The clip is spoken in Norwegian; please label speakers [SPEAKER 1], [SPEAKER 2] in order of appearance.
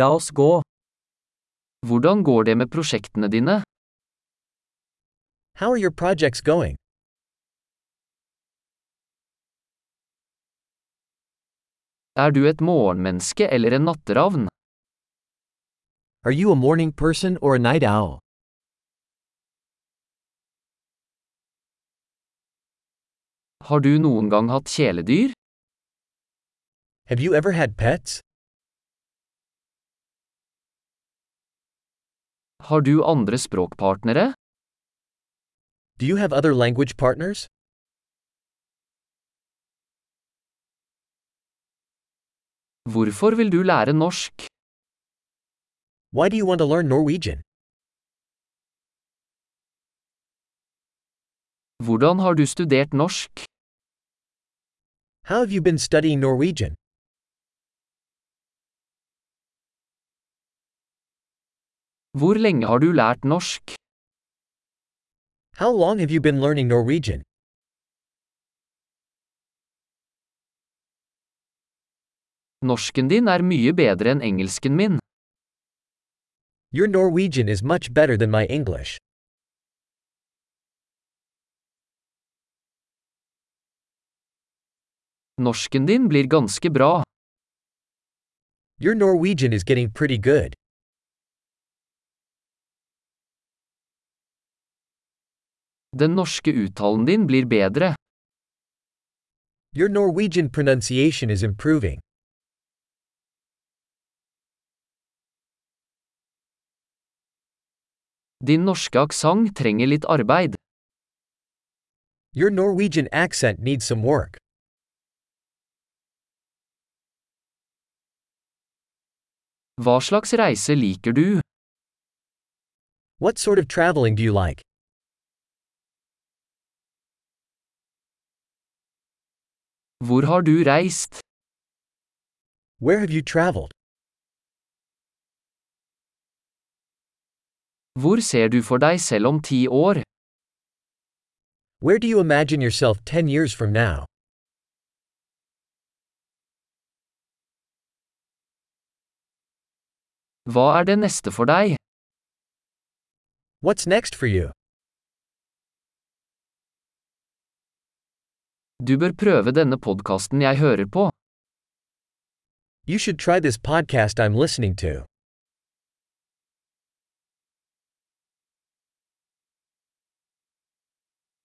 [SPEAKER 1] La oss gå. Hvordan går det med prosjektene dine?
[SPEAKER 2] How are your projects going?
[SPEAKER 1] Er du et morgenmenneske eller en natteravn?
[SPEAKER 2] Are you a morning person or a night owl?
[SPEAKER 1] Har du noen gang hatt kjæledyr?
[SPEAKER 2] Have you ever had pets?
[SPEAKER 1] Har du andre språkpartnere?
[SPEAKER 2] Do you have other language partners?
[SPEAKER 1] Hvorfor vil du lære norsk?
[SPEAKER 2] Why do you want to learn Norwegian?
[SPEAKER 1] Hvordan har du studert norsk?
[SPEAKER 2] How have you been studying Norwegian?
[SPEAKER 1] Hvor lenge har du lært norsk?
[SPEAKER 2] How long have you been learning Norwegian?
[SPEAKER 1] Norsken din er mye bedre enn engelsken min.
[SPEAKER 2] Your Norwegian is much better than my English.
[SPEAKER 1] Norsken din blir ganske bra.
[SPEAKER 2] Your Norwegian is getting pretty good.
[SPEAKER 1] Den norske uttalen din blir bedre.
[SPEAKER 2] Your Norwegian pronunciation is improving.
[SPEAKER 1] Din norske aksent trenger litt arbeid.
[SPEAKER 2] Your Norwegian accent needs some work.
[SPEAKER 1] Hva slags reise liker du?
[SPEAKER 2] What sort of traveling do you like?
[SPEAKER 1] Hvor har du reist?
[SPEAKER 2] Where have you traveled?
[SPEAKER 1] Hvor ser du for deg selv om ti år?
[SPEAKER 2] Where do you imagine yourself 10 years from now?
[SPEAKER 1] Hva er det neste for deg?
[SPEAKER 2] What's next for you?
[SPEAKER 1] Du bør prøve denne podkasten jeg hører på.
[SPEAKER 2] You should try this podcast I'm listening to.